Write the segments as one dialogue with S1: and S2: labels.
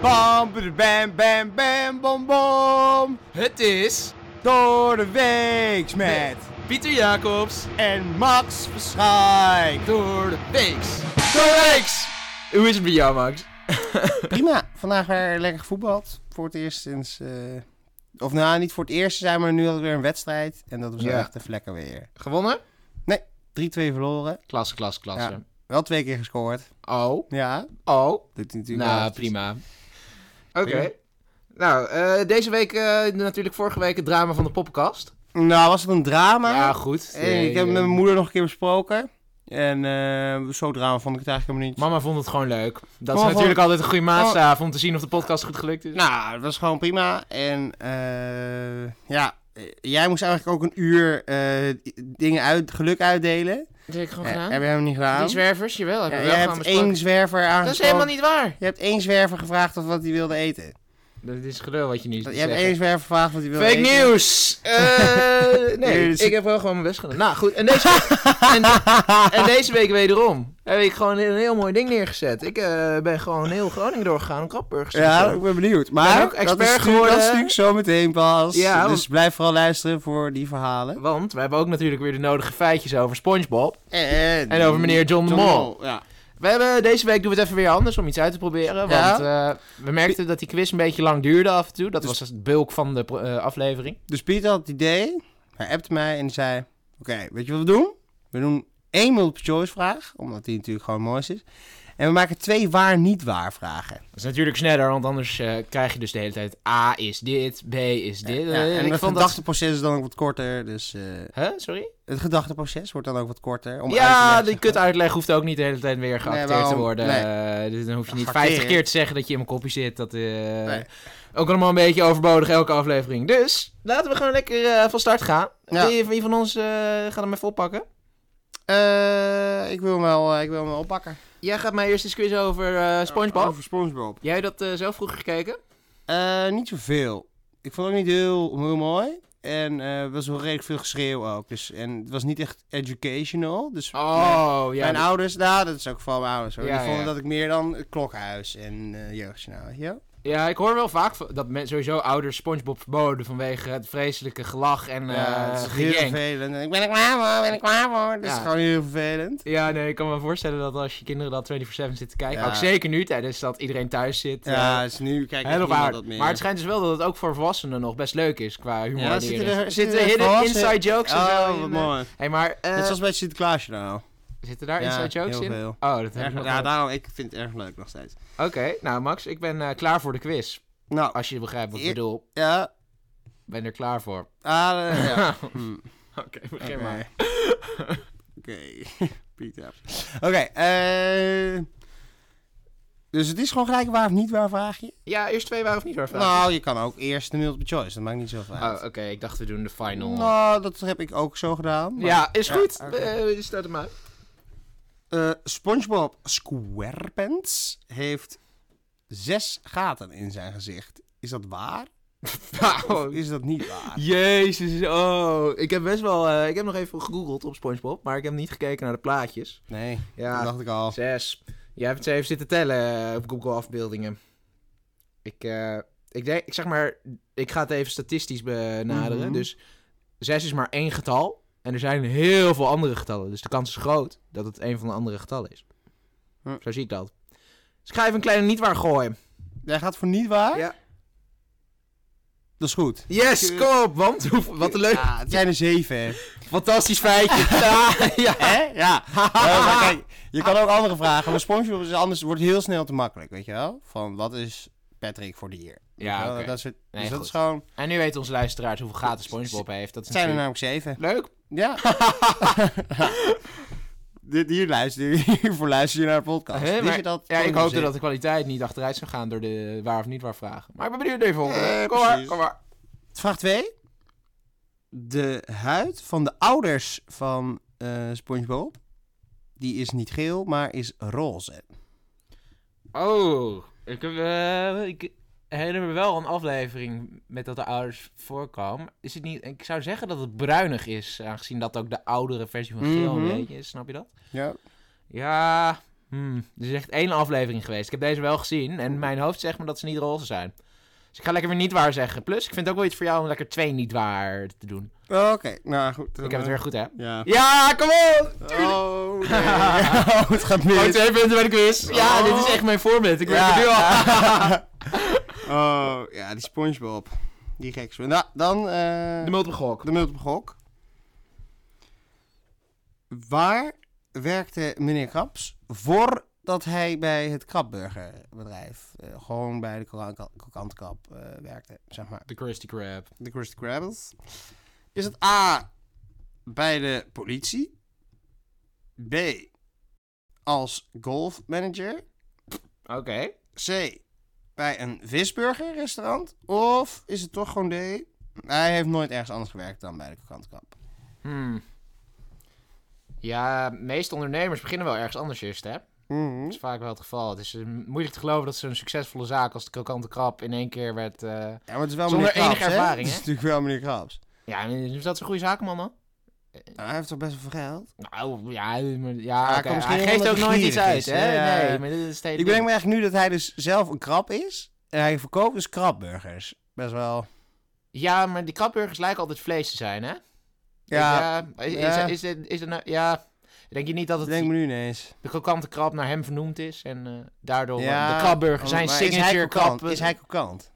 S1: Bam, bam, bam, bam, bam, bom, bom.
S2: Het is
S1: Door de weeks met
S2: Pieter Jacobs
S1: en Max Verschijk.
S2: door de Weeks. Door de Weeks! Hoe is het met jou, Max?
S1: Prima, vandaag weer lekker voetbald. Voor het eerst sinds... eh, of nou, niet voor het eerst zijn, maar nu had ik weer een wedstrijd. En dat was
S2: Ja.
S1: echt een vlekken weer.
S2: Gewonnen?
S1: 3-2 verloren.
S2: Klasse, klasse, klasse.
S1: klasse. Wel twee keer gescoord.
S2: Oh,
S1: Ja,
S2: oh.
S1: doet hij natuurlijk
S2: Nou,
S1: wel.
S2: prima. Oké. Nou, eh, deze week, eh, natuurlijk vorige week, het drama van de poppenkast.
S1: Nou, was het een drama?
S2: ja, goed.
S1: Eh, ik heb met mijn moeder nog een keer besproken. En eh, zo drama vond ik het eigenlijk helemaal niet.
S2: Mama vond het gewoon leuk. Dat
S1: Mama
S2: is natuurlijk
S1: vond-
S2: altijd een goede maatstaf om te zien of de podcast goed gelukt is.
S1: Nou, dat was gewoon prima. En eh, ja, eh, jij moest eigenlijk ook een uur eh, dingen uit, geluk uitdelen.
S2: dat heb ik gewoon
S1: Eh, hebben we hem niet gedaan.
S2: zwervers, jawel.
S1: Ja, jij hebt één zwerver aangesproken.
S2: niet waar.
S1: Je hebt één zwerver gevraagd of wat hij wilde eten.
S2: Dat is gelul wat je niet
S1: Je
S2: zegt.
S1: hebt één zwerver gevraagd wat hij wilde
S2: Fake
S1: eten.
S2: nieuws! Eh, nee,
S1: Dus-
S2: ik heb wel gewoon mijn best gedaan. Nou goed, en deze, en, en deze week wederom heb ik gewoon een heel mooi ding neergezet. Ik eh, ben gewoon heel Groningen doorgegaan, Krapburg.
S1: Ja, ik ben benieuwd. Maar
S2: Ben ook expert
S1: dat is natuurlijk-
S2: geworden.
S1: Dat is natuurlijk zo meteen pas.
S2: Ja,
S1: dus
S2: want-
S1: blijf vooral luisteren voor die verhalen.
S2: Want we hebben ook natuurlijk weer de nodige feitjes over Spongebob.
S1: En,
S2: En over meneer John de Mol.
S1: Ja.
S2: We hebben, deze week doen we het even weer anders om iets uit te proberen. Want
S1: Ja.
S2: eh, we merkten dat die quiz een beetje lang duurde af en toe. Dat
S1: Dus-
S2: was dus het bulk van de pro- eh, aflevering.
S1: Dus Pieter had het idee. Hij appte mij en zei: Oké, weet je wat we doen? We doen één multiple choice vraag, omdat die natuurlijk gewoon mooi is. En we maken twee waar niet waar vragen.
S2: Dat is natuurlijk sneller, want anders eh, krijg je dus de hele tijd A is dit, B is dit.
S1: Ja,
S2: Eh,
S1: en
S2: ik
S1: het
S2: vond dat...
S1: gedachteproces is dan ook wat korter. Dus eh,
S2: Huh? Sorry?
S1: het gedachteproces wordt dan ook wat korter. Om
S2: ja,
S1: uit te
S2: die
S1: leggen.
S2: kut uitleg hoeft ook niet de hele tijd weer geacteerd te
S1: waarom?
S2: worden.
S1: Nee.
S2: Eh, dus dan hoef je niet
S1: Acteren.
S2: 50 keer te zeggen dat je in mijn kopje zit. Dat, eh,
S1: Nee.
S2: Ook allemaal een beetje overbodig elke aflevering. Dus laten we gewoon lekker eh, van start gaan.
S1: Ja.
S2: Wie, wie van ons eh, gaat hem even oppakken?
S1: Eh, ik, wil hem wel, eh, ik wil hem wel oppakken.
S2: Jij gaat mij eerst eens quiz over eh, SpongeBob.
S1: Over SpongeBob.
S2: Jij dat eh, zelf vroeger gekeken?
S1: Eh, niet zoveel. Ik vond het ook niet heel, heel mooi. En eh, er was wel redelijk veel geschreeuw ook. Dus, en het was niet echt educational. Dus
S2: Oh, ja.
S1: mijn ouders, nou, dat is ook vooral mijn ouders hoor.
S2: Ja,
S1: die vonden
S2: ja.
S1: dat ik meer dan het klokhuis en eh jeugdjournaal. weet je wel.
S2: Ja, ik hoor wel vaak v- dat men, sowieso ouders SpongeBob verboden vanwege het vreselijke gelach en eh
S1: ja, het is heel
S2: gejank.
S1: vervelend. En ik ben er klaar voor, ben ik klaar voor. Dat is
S2: Ja.
S1: gewoon heel vervelend.
S2: Ja, nee, ik kan me voorstellen dat als je kinderen dat 24-7 zitten te kijken,
S1: Ja.
S2: ook zeker nu tijdens dat iedereen thuis zit,
S1: Ja,
S2: ja,
S1: dus nu kijk ik
S2: heel op
S1: niemand
S2: aarde.
S1: dat meer.
S2: Maar het schijnt dus wel dat het ook voor volwassenen nog best leuk is qua humor.
S1: Ja,
S2: Ja,
S1: zitten
S2: zitten
S1: er-
S2: er,
S1: zitten er
S2: hidden
S1: volwassenen-
S2: inside jokes en zo.
S1: Oh,
S2: in,
S1: wat
S2: eh,
S1: mooi.
S2: Hey, maar eh,
S1: Net zoals bij het Sinterklaasje nou.
S2: zitten daar
S1: Ja,
S2: inside jokes
S1: heel
S2: in?
S1: veel.
S2: Oh, dat heb ik
S1: Erg,
S2: nog
S1: ja,
S2: nooit.
S1: daarom, ik vind het erg leuk nog steeds.
S2: Oké, nou Max, ik ben eh, klaar voor de quiz.
S1: Nou,
S2: Als je begrijpt wat ik
S1: Eer-
S2: bedoel,
S1: ja.
S2: ben er klaar voor.
S1: Ah, eh, ja. Hm.
S2: Oké, begin
S1: Oké.
S2: maar.
S1: Oké, Pieter. Oké, eh, Dus het is gewoon gelijk waar of niet waar vraagje?
S2: Ja, eerst twee waar of niet waar vragen?
S1: Nou, je kan ook eerst de multiple choice, dat maakt niet zoveel
S2: Oh,
S1: uit.
S2: oké, ik dacht we doen de final.
S1: Nou, dat heb ik ook zo gedaan. maar-
S2: ja, is
S1: Ja,
S2: goed.
S1: oké.
S2: Eh, staat hem uit.
S1: Eh, SpongeBob SquarePants heeft zes gaten in zijn gezicht. Is dat waar? Of
S2: Nou,
S1: is dat niet waar?
S2: Jezus, oh. Ik heb best wel. eh, ik heb nog even gegoogeld op SpongeBob, maar ik heb niet gekeken naar de plaatjes.
S1: Nee, dat
S2: Ja,
S1: dacht ik al.
S2: zes. Jij hebt ze even zitten tellen eh, op Google afbeeldingen. Ik, eh, ik denk, ik zeg maar, ik ga het even statistisch benaderen.
S1: Mhm.
S2: Dus zes is maar één getal. En er zijn heel veel andere getallen. Dus de kans is groot dat het een van de andere getallen is.
S1: Hm.
S2: Zo zie ik dat. Dus ik ga even een kleine niet waar gooien.
S1: Jij gaat voor niet waar?
S2: Ja.
S1: Dat is goed.
S2: Yes, kom op, want hoe- wat een leuk,
S1: Ja, het zijn er zeven, hè?
S2: fantastisch feitje. ja, ja.
S1: Hè? Ja. Eh, maar kijk, je kan ook andere vragen. Maar SpongeBob is anders, wordt heel snel te makkelijk, weet je wel? Van wat is Patrick voor dier? Weet
S2: Ja,
S1: je wel?
S2: oké.
S1: Dat soort,
S2: Nee,
S1: dus dat
S2: goed.
S1: is gewoon.
S2: En nu weten onze luisteraars hoeveel gaten SpongeBob heeft. Dat is
S1: Het zijn er eh,
S2: natuurlijk-
S1: namelijk zeven.
S2: Leuk.
S1: Ja. Dit hier luister je, hiervoor luister je naar de podcast.
S2: Hè,
S1: Wist
S2: maar-
S1: je dat?
S2: Ja, ik
S1: SpongeBob
S2: hoopte
S1: zit?
S2: dat de kwaliteit niet achteruit zou gaan door de waar of niet waar vragen. Maar ik ben benieuwd naar je volgende.
S1: Eh,
S2: kom maar,
S1: precies.
S2: kom maar.
S1: Vraag 2. De huid van de ouders van eh, SpongeBob, die is niet geel, maar is roze.
S2: Oh, ik heb... eh, ik herinner me wel een aflevering met dat de ouders voorkwam. Is het niet... Ik zou zeggen dat het bruinig is, aangezien dat ook de oudere versie van geel
S1: Mhm.
S2: een beetje is. Snap je dat?
S1: Ja.
S2: Ja, Hmm, er is echt één aflevering geweest. Ik heb deze wel gezien en mijn hoofd zegt me dat ze niet roze zijn. Dus ik ga lekker weer niet waar zeggen. Plus, ik vind het ook wel iets voor jou om lekker twee niet waar te doen.
S1: Oké, nou goed.
S2: Ik heb het weer goed, hè?
S1: Ja.
S2: Ja, kom op!
S1: Oh, nee. oh, het gaat mis.
S2: Oh, twee punten bij de quiz. Oh. Ja, dit is echt mijn voorbeeld. Ik weet het nu al.
S1: ja. oh, ja, die Spongebob. Die geks. Nou, dan eh
S2: De multiple gok.
S1: de multiple gok. Waar werkte meneer Kraps voordat hij bij het Krabburgerbedrijf, eh, gewoon bij de kokan- krokantkrab eh, werkte, zeg maar,
S2: De Krusty Krab.
S1: de Krusty Krabbers? Is het A, bij de politie? B, als golfmanager?
S2: Oké.
S1: C. Bij een visburgerrestaurant? Of is het toch gewoon D? Hij heeft nooit ergens anders gewerkt dan bij de krokantkamp.
S2: Hmm. Ja, de meeste ondernemers beginnen wel ergens anders eerst, hè? Dat is vaak wel het geval. Het is eh, moeilijk te geloven dat zo'n succesvolle zaak als de krokante krab in één keer werd... eh,
S1: Ja, maar het is wel
S2: Zonder
S1: meneer Krabs,
S2: enige ervaring,
S1: hè?
S2: hè?
S1: Het is natuurlijk wel meneer Krabs.
S2: Ja, is dat een goede zaak, man, man?
S1: Nou, hij heeft toch best wel veel geld?
S2: Nou, ja, maar,
S1: hij
S2: ja oké.
S1: komt misschien
S2: hij
S1: omdat
S2: geeft ook
S1: hij
S2: nooit
S1: gierig
S2: iets uit,
S1: is,
S2: hè?
S1: hè?
S2: Nee, maar dit is steeds...
S1: Ik bedenk me eigenlijk nu dat hij dus zelf een krab is. En hij verkoopt dus krabburgers. Best wel.
S2: Ja, maar die krabburgers lijken altijd vlees te zijn, hè?
S1: Ja,
S2: ja is,
S1: ja.
S2: Is, is, dit- is, het nou... Ja... Denk je niet dat
S1: ik
S2: het
S1: bedenk me nu ineens.
S2: de krokante krab naar hem vernoemd is? En eh, daardoor eh,
S1: Ja,
S2: de krabburger zijn
S1: maar is hij
S2: signature
S1: krokant?
S2: krab...
S1: Is hij krokant?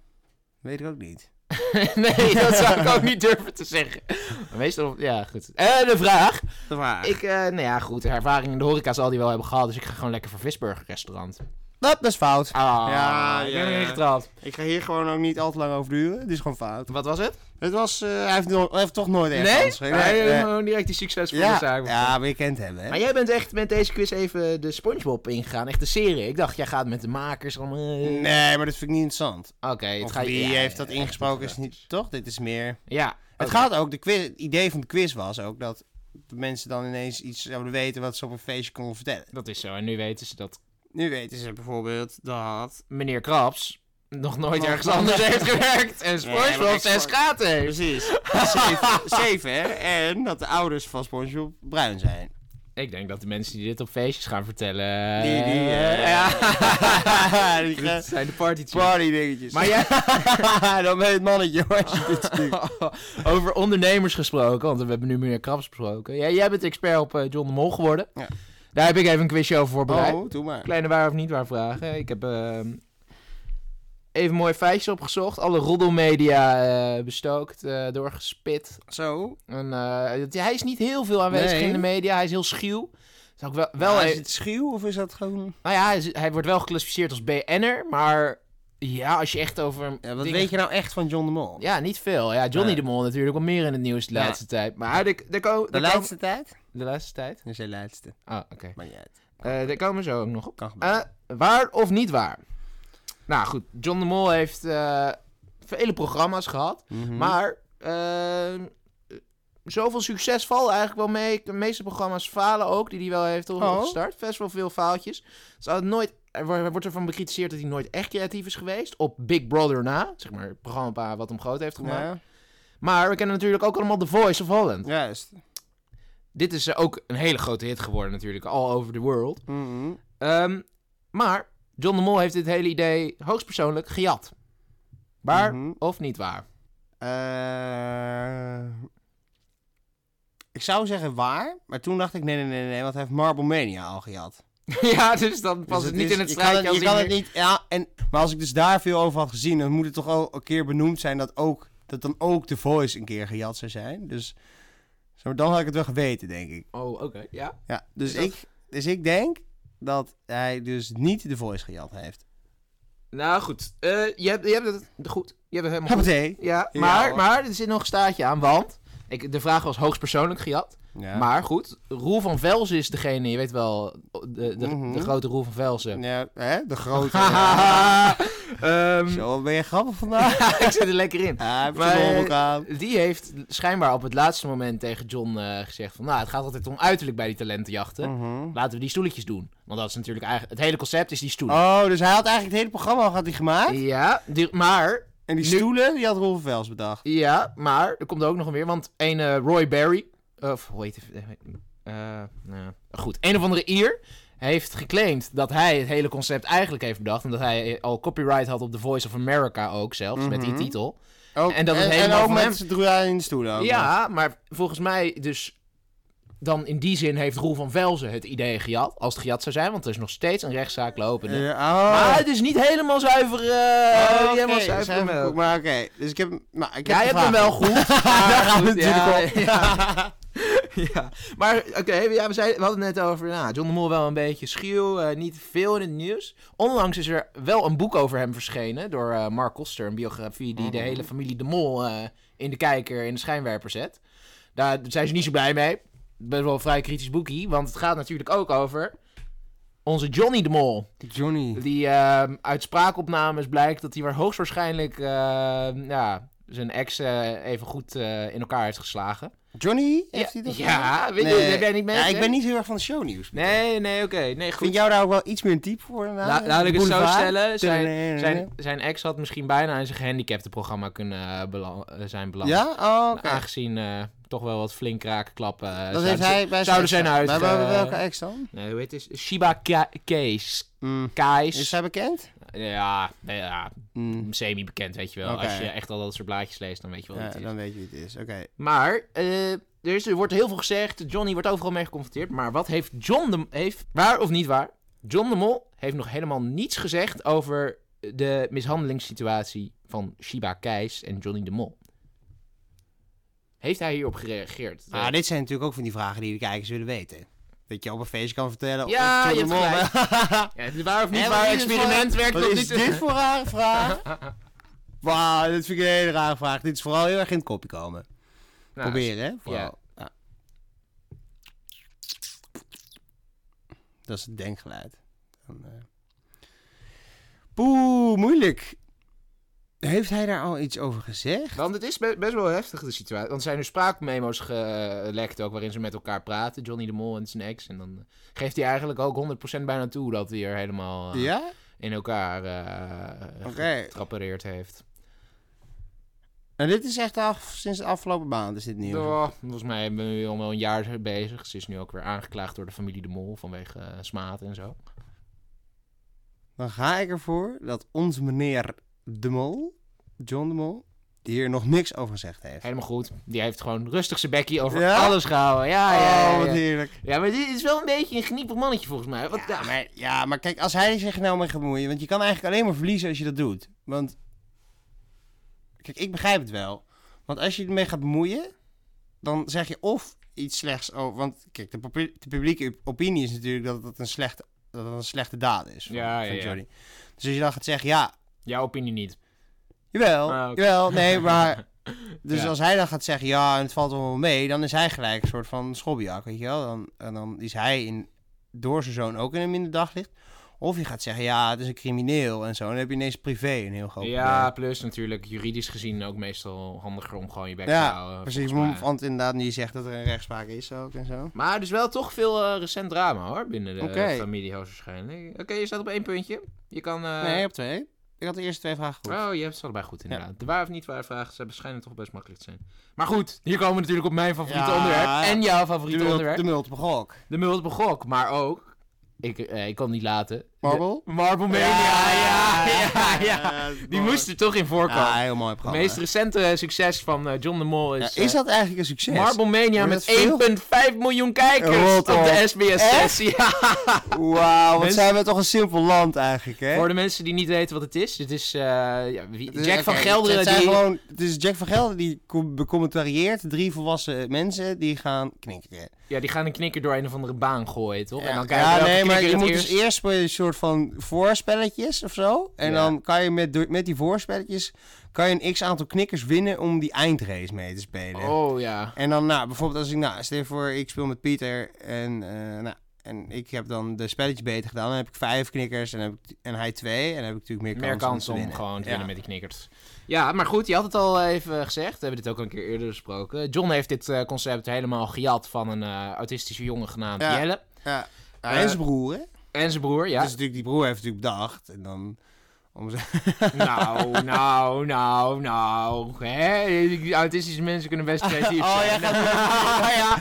S1: Weet ik ook niet.
S2: nee, dat zou ik ook niet durven te zeggen. Maar meestal... Ja, goed. Eh, de vraag.
S1: De vraag.
S2: Ik, eh, nou ja, goed. Ervaring in de horeca zal die wel hebben gehad. Dus ik ga gewoon lekker voor Visburger restaurant.
S1: Nou, Dat is fout.
S2: Ah,
S1: Ja,
S2: ik
S1: ja,
S2: ben erin
S1: ja.
S2: getrapt.
S1: Ik ga hier gewoon ook niet al te lang over duren. Het is gewoon fout.
S2: Wat was het?
S1: Het was... eh, hij, heeft no- hij heeft toch nooit ergens
S2: Nee?
S1: anders
S2: Nee,
S1: gewerkt. Nee, nee.
S2: gewoon direct die succesvolle zaak.
S1: ja, maar je kent hem, hè?
S2: Maar jij bent echt met deze quiz even de Spongebob ingegaan. Echt de serie. Ik dacht, jij gaat met de makers. allemaal, eh,
S1: Nee, maar dat vind ik niet interessant.
S2: Oké, het
S1: Of
S2: gaat...
S1: wie
S2: ja,
S1: heeft dat
S2: ja,
S1: ingesproken is
S2: ja. Oh,
S1: niet... Toch? Dit is meer...
S2: Ja.
S1: Het
S2: oké.
S1: gaat ook... De quiz, het idee van de quiz was ook dat de mensen dan ineens iets zouden weten wat ze op een feestje konden vertellen.
S2: Dat is zo. En nu weten ze dat
S1: Nu weten ze bijvoorbeeld dat...
S2: meneer Krabs nog nooit
S1: Nog
S2: ergens
S1: nooit.
S2: anders heeft gewerkt. En
S1: Nee, maar
S2: Spongebob
S1: ik
S2: zes
S1: spor-
S2: gaten heeft.
S1: Precies. Zeven, zeven, hè? En dat de ouders van SpongeBob bruin zijn.
S2: Ik denk dat de mensen die dit op feestjes gaan vertellen...
S1: Die, die, eh,
S2: eh,
S1: ja. die
S2: dat
S1: ge-
S2: zijn de party
S1: party dingetjes.
S2: Maar jij...
S1: dan ben je het mannetje, hoor. als je dit doet.
S2: Over ondernemers gesproken, want we hebben nu meneer Krabs besproken. Jij, jij bent expert op eh, John de Mol geworden.
S1: Ja.
S2: Daar heb ik even een quizje over voorbereid.
S1: Oh, doe maar.
S2: Kleine waar of niet waar vragen. Ik heb ehm, even mooie feitjes opgezocht. Alle roddelmedia eh, bestookt, eh, doorgespit.
S1: Zo.
S2: En, eh, het- hij is niet heel veel aanwezig
S1: Nee.
S2: in de media. Hij is heel schuw. Is ook wel, wel
S1: Nou, is
S2: een-
S1: het schuw of is dat gewoon...
S2: nou ja, hij, is- hij wordt wel geclassificeerd als BN'er, maar ja, als je echt over...
S1: Ja, wat
S2: dingen
S1: weet je nou echt van John de Mol?
S2: Ja, niet veel. Ja, Johnny
S1: Nee.
S2: de Mol natuurlijk wel meer in het nieuws de
S1: Ja.
S2: laatste tijd. Maar de, de, ko- de,
S1: De laatste tijd?
S2: de laatste tijd?
S1: Dat is de laatste.
S2: Ah, oké.
S1: Maar niet uit.
S2: Eh, daar komen we zo ook nog op.
S1: Kan gebeuren.
S2: Eh, waar of niet waar? Nou goed, John de Mol heeft eh, vele programma's gehad.
S1: Mhm.
S2: Maar eh, zoveel succes valt eigenlijk wel mee. De meeste programma's falen ook, die hij wel heeft
S1: Oh.
S2: opgestart. Best wel veel faaltjes. Dus hij had nooit, er wo- wordt ervan bekritiseerd dat hij nooit echt creatief is geweest. Op Big Brother na, zeg maar het programma wat hem groot heeft gemaakt.
S1: Ja,
S2: Maar we kennen natuurlijk ook allemaal The Voice of Holland.
S1: juist.
S2: Dit is eh, ook een hele grote hit geworden natuurlijk, all over the world.
S1: Mhm.
S2: Ehm, maar John de Mol heeft dit hele idee hoogstpersoonlijk gejat. Waar
S1: Mhm.
S2: of niet waar?
S1: Eh, ik zou zeggen waar, maar toen dacht ik nee, nee, nee, nee, want hij heeft Marble Mania al gehad.
S2: ja, dus dan
S1: Dus
S2: past het niet
S1: is-
S2: in het
S1: je kan
S2: straatje als
S1: Je kan
S2: hij
S1: het
S2: meer-
S1: niet, ja, en, maar als ik dus daar veel over had gezien, dan moet het toch ook een keer benoemd zijn dat ook, dat dan ook The Voice een keer gejat zou zijn. Dus zeg maar, dan had ik het wel geweten, denk ik.
S2: Oh, oké, ja.
S1: Ja, dus,
S2: Is dat-
S1: ik, dus ik denk dat hij dus niet The Voice gejat heeft.
S2: Nou goed, Eh, je, hebt, je hebt het goed. Je hebt het helemaal goed.
S1: Hoppatee.
S2: Ja,
S1: Ja,
S2: maar,
S1: hoor.
S2: maar er zit nog een staartje aan, want ik, de vraag was hoogstpersoonlijk gejat.
S1: Ja.
S2: Maar goed, Roel van Velzen is degene, je weet wel, de, de,
S1: Mhm.
S2: de grote Roel van Velzen.
S1: Ja, hè? De grote.
S2: Ehm,
S1: Zo, ben je grappig vandaag?
S2: ik zit er lekker in.
S1: Ja, heb je
S2: Maar,
S1: zo'n broek aan.
S2: Die heeft schijnbaar op het laatste moment tegen John eh, gezegd van... Nou, het gaat altijd om uiterlijk bij die talentenjachten.
S1: Mhm.
S2: Laten we die stoeltjes doen. Want dat is natuurlijk eigenlijk... Het hele concept is die stoelen.
S1: Oh, dus hij had eigenlijk het hele programma al had hij gemaakt.
S2: Ja, die- maar...
S1: En die
S2: Nu-
S1: stoelen, die had Rolf Vels bedacht.
S2: Ja, maar... Er komt ook nog meer, want een eh, Roy Barry... Of, hoe heet het? eh, eh, nou, goed, een of andere Ier... heeft geclaimd dat hij het hele concept eigenlijk heeft bedacht. En dat hij al copyright had op The Voice of America ook zelfs, met die
S1: Mhm.
S2: titel.
S1: Ook,
S2: En dat het
S1: en
S2: helemaal
S1: ook
S2: van
S1: met
S2: hem-
S1: z'n draaien in de stoel. ook nog.
S2: Ja, maar volgens mij dus... Dan in die zin heeft Roel van Velzen het idee gejat, als het gejat zou zijn, want er is nog steeds een rechtszaak lopende.
S1: Eh, oh.
S2: Maar het is niet helemaal zuiver. eh,
S1: Oh, oké,
S2: helemaal
S1: zuiver
S2: zuiver
S1: koek,
S2: melk.
S1: Maar oké, dus ik heb, nou, ik heb
S2: Jij hebt hem wel goed. maar
S1: Daar gaat het
S2: goed, ja,
S1: natuurlijk om.
S2: ja. Ja. Maar oké, ja, we, zeiden- we hadden het net over nou, John de Mol wel een beetje schuw, eh, niet veel in het nieuws. Onlangs is er wel een boek over hem verschenen door eh, Mark Koster, een biografie die de
S1: Mhm.
S2: hele familie de Mol eh, in de kijker, in de schijnwerper zet. Daar zijn ze niet zo blij mee. Best wel een vrij kritisch boekie, want het gaat natuurlijk ook over onze Johnny de Mol.
S1: Johnny.
S2: Die ehm, uit spraakopnames blijkt dat hij maar hoogstwaarschijnlijk ehm, ja, zijn ex eh, even goed eh, in elkaar heeft geslagen.
S1: Johnny? Heeft
S2: ja,
S1: hij dat
S2: ja,
S1: gedaan?
S2: weet je,
S1: Nee.
S2: heb jij niet mee?
S1: Ja, ik
S2: hè?
S1: ben niet heel erg van de shownieuws.
S2: Nee, nee, oké. Nee,
S1: Ik vind
S2: goed.
S1: jou daar ook wel iets meer diep voor. inderdaad.
S2: La- laat ik het zo
S1: Boulevard.
S2: stellen. Zijn, zijn, zijn ex had misschien bijna in zijn gehandicaptenprogramma kunnen eh, belan- eh, zijn beland.
S1: Ja? Oh, oké.
S2: Aangezien eh, toch wel wat flink raken klappen. eh,
S1: dat
S2: zouden
S1: heeft
S2: ze-
S1: hij bij
S2: zouden
S1: zijn
S2: zijn
S1: ex
S2: uit.
S1: gedaan. Bij- bij
S2: eh,
S1: welke ex dan?
S2: Nee, hoe heet het? Shiba Ka- Kees.
S1: Mm.
S2: Kais.
S1: Is zij bekend?
S2: Ja, nee, ja, Hmm.
S1: Mm.
S2: semi-bekend, weet je wel.
S1: Oké.
S2: Als je echt al dat soort blaadjes leest, dan weet je wel
S1: Ja,
S2: wat het is.
S1: dan weet je wie het is. Oké.
S2: Maar, eh, er, is, er wordt heel veel gezegd. Johnny wordt overal mee geconfronteerd. Maar wat heeft John de... Heeft, waar of niet waar? John de Mol heeft nog helemaal niets gezegd over de mishandelingssituatie van Shiba Keis en Johnny de Mol. Heeft hij hierop gereageerd?
S1: Maar dit zijn natuurlijk ook van die vragen die de kijkers willen weten. Dat je op een feestje kan vertellen.
S2: Ja,
S1: of
S2: je hebt Ja, het waar of niet
S1: Hè,
S2: waar
S1: wat is dit
S2: experiment
S1: voor-
S2: werkt
S1: Wat
S2: tot
S1: is
S2: nu toe.
S1: dit voor rare vraag? Wauw, dit vind ik een hele rare vraag. Dit is vooral heel erg in het kopje komen.
S2: Nou,
S1: Proberen, hè? Vooral. Ja. Dat is het denkgeluid. Dan, eh. Poeh, moeilijk. Heeft hij daar al iets over gezegd?
S2: Want het is be- best wel heftig, de situatie. Want er zijn nu spraakmemo's gelekt ook, waarin ze met elkaar praten. Johnny de Mol en zijn ex. En dan eh, geeft hij eigenlijk ook 100% bijna toe dat hij er helemaal eh,
S1: Ah, Ja?
S2: in elkaar eh
S1: Oké.
S2: getrappereerd heeft.
S1: En dit is echt af, sinds de afgelopen maand is dit nieuws.
S2: Oh, volgens mij ben we nu al wel een jaar bezig. Ze is nu ook weer aangeklaagd door de familie de Mol vanwege eh, smaad en zo.
S1: Dan ga ik ervoor dat onze meneer De Mol, John De Mol, hier nog niks over gezegd heeft.
S2: Helemaal goed. Die heeft gewoon rustig zijn bekkie over
S1: Ja?
S2: alles gehouden. Ja, ja,
S1: Oh,
S2: ja,
S1: wat
S2: ja.
S1: heerlijk.
S2: Ja, maar dit is wel een beetje een geniepig mannetje volgens mij. Wat,
S1: Ja, maar, ja, maar kijk, als hij zich nou mee gaat bemoeien... Want je kan eigenlijk alleen maar verliezen als je dat doet. Want... Kijk, ik begrijp het wel. Want als je ermee gaat bemoeien... Dan zeg je of iets slechts over... Want kijk, de, popu- de publieke opinie is natuurlijk dat het een slechte, dat het een slechte daad is. van-
S2: Ja, ja,
S1: van
S2: ja.
S1: Johnny. Dus als je dan gaat zeggen, ja,
S2: Jouw opinie niet.
S1: jawel,
S2: Ah, oké.
S1: jawel, nee, maar... Dus
S2: Ja.
S1: als hij dan gaat zeggen, ja, en het valt allemaal wel mee... Dan is hij gelijk een soort van schobbiak, weet je wel. Dan, en dan is hij in, door zijn zoon ook in een minder daglicht. Of je gaat zeggen, ja, het is een crimineel en zo. En dan heb je ineens privé een heel groot
S2: Ja, plus natuurlijk juridisch gezien ook meestal handiger om gewoon je bek
S1: Ja,
S2: te houden.
S1: probleem. Precies,
S2: volgens mij.
S1: want inderdaad, nu je zegt dat er een rechtspraak is ook en zo.
S2: Maar dus wel toch veel eh, recent drama hoor, binnen de
S1: Oké.
S2: familie hoogstwaarschijnlijk. Oké, je staat op één puntje. Je kan... eh,
S1: nee, op twee. Ik had de eerste twee vragen goed.
S2: Oh, je hebt het allebei goed inderdaad. De waar of niet waar vragen, ze schijnen toch best makkelijk te zijn. Maar goed, hier komen we natuurlijk op mijn favoriete
S1: Ja.
S2: onderwerp. En jouw
S1: de,
S2: favoriete
S1: mul-
S2: onderwerp.
S1: de multiple gok.
S2: De multiple gok, maar ook... Ik, eh, ik kan het niet laten.
S1: Marble?
S2: De- Marble Mania, ja, ja, ja. Die moest er toch in voorkomen.
S1: Ja, heel mooi
S2: het
S1: programma.
S2: meest recente succes van eh, John de Mol
S1: Ja,
S2: is...
S1: is,
S2: eh,
S1: dat eigenlijk een succes?
S2: Marble Mania
S1: Wordt
S2: met
S1: het veel?
S2: 1,5 miljoen kijkers
S1: Rot
S2: op de
S1: op.
S2: SBS-sessie.
S1: Wauw, wat
S2: Mensen-
S1: zijn we toch een simpel land eigenlijk, hè?
S2: Voor de mensen die niet weten wat het is, dit is eh, ja, wie-
S1: Het is-
S2: Jack van
S1: oké,
S2: Gelderen
S1: Het, zijn
S2: die...
S1: gewoon, het is Jack van Gelderen die com- becommentarieert drie volwassen mensen die gaan knikken.
S2: Ja, die gaan een knikker door een of andere baan gooien, toch? En dan kijken
S1: ja,
S2: welke
S1: nee, maar
S2: knikker
S1: je
S2: het
S1: moet dus eerst voor een soort van voorspelletjes of zo. En
S2: Ja.
S1: dan kan je met, door- met die voorspelletjes kan je een x aantal knikkers winnen om die eindrace mee te spelen.
S2: Oh, ja.
S1: En dan, nou, bijvoorbeeld als ik, nou, stel je voor, ik speel met Pieter en, eh, nou, en ik heb dan de spelletjes beter gedaan. Dan heb ik vijf knikkers en, heb ik, en hij twee. En dan heb ik natuurlijk meer,
S2: Meer kans
S1: te
S2: om
S1: winnen.
S2: gewoon te
S1: Ja.
S2: winnen met die knikkers. Ja, maar goed, je had het al even gezegd. We hebben dit ook al een keer eerder besproken. John heeft dit eh, concept helemaal gejat van een eh, autistische jongen genaamd
S1: Ja.
S2: Jelle.
S1: Ja. Ja,
S2: Eh,
S1: en zijn broer, hè?
S2: En zijn broer, ja.
S1: Dus natuurlijk, die broer heeft natuurlijk bedacht. En dan Om ze...
S2: Nou, nou, nou, nou. Hè? Autistische mensen kunnen best creatief
S1: Oh,
S2: zijn.
S1: jij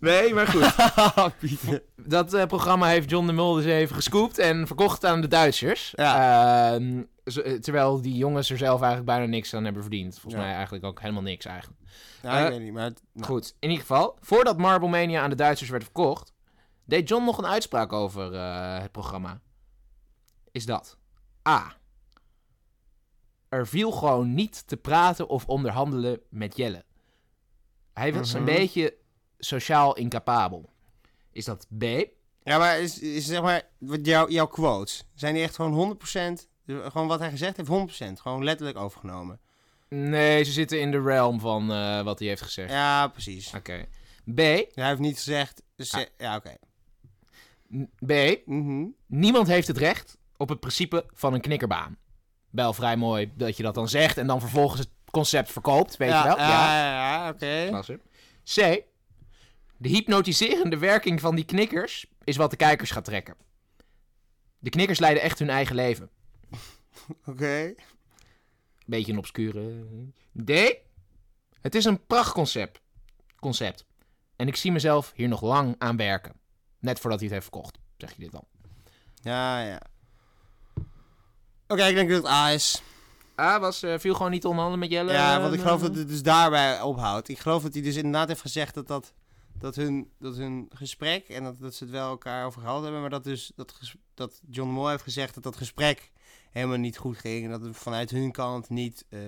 S2: Nee, maar goed.
S1: Oh, Pieter.
S2: Dat eh, programma heeft John de Mol dus even gescoopt en verkocht aan de Duitsers. Ehm, zo- eh, terwijl die jongens er zelf eigenlijk bijna niks aan hebben verdiend. Volgens
S1: Ja.
S2: mij eigenlijk ook helemaal niks eigenlijk.
S1: Nou,
S2: Eh,
S1: ik weet niet, maar... het- nou,
S2: Goed, in ieder geval, voordat Marble Mania aan de Duitsers werd verkocht, deed John nog een uitspraak over eh, het programma. Is dat A. Er viel gewoon niet te praten of onderhandelen met Jelle. Hij was
S1: Mhm.
S2: een beetje sociaal incapabel. Is dat B?
S1: Ja, maar is, is zeg maar, wat jou, jouw quotes, zijn die echt gewoon 100%, dus gewoon wat hij gezegd heeft, 100%, gewoon letterlijk overgenomen?
S2: Nee, ze zitten in de realm van eh, wat hij heeft gezegd.
S1: Ja, precies.
S2: Oké. B.
S1: Hij heeft niet gezegd, dus ze- ja, oké.
S2: N- B.
S1: Mhm.
S2: Niemand heeft het recht op het principe van een knikkerbaan. Wel vrij mooi dat je dat dan zegt en dan vervolgens het concept verkoopt, weet je
S1: Ja,
S2: wel?
S1: eh, ja, ja, oké.
S2: klasse. C. De hypnotiserende werking van die knikkers is wat de kijkers gaat trekken. De knikkers leiden echt hun eigen leven.
S1: Oké.
S2: Beetje een obscure. eh, D. Het is een prachtconcept. Concept. En ik zie mezelf hier nog lang aan werken. Net voordat hij het heeft verkocht, zeg je dit dan.
S1: Ja, ja. Oké, ik denk dat het A is.
S2: A was, eh, viel gewoon niet onderhandelen met Jelle.
S1: Ja,
S2: eh,
S1: want ik geloof dat het dus daarbij ophoudt. Ik geloof dat hij dus inderdaad heeft gezegd dat, dat, dat, hun, dat hun gesprek en dat, dat ze het wel elkaar over gehad hebben, maar dat, dus, dat, ges- dat John Moore heeft gezegd dat dat gesprek helemaal niet goed ging en dat het vanuit hun kant niet eh,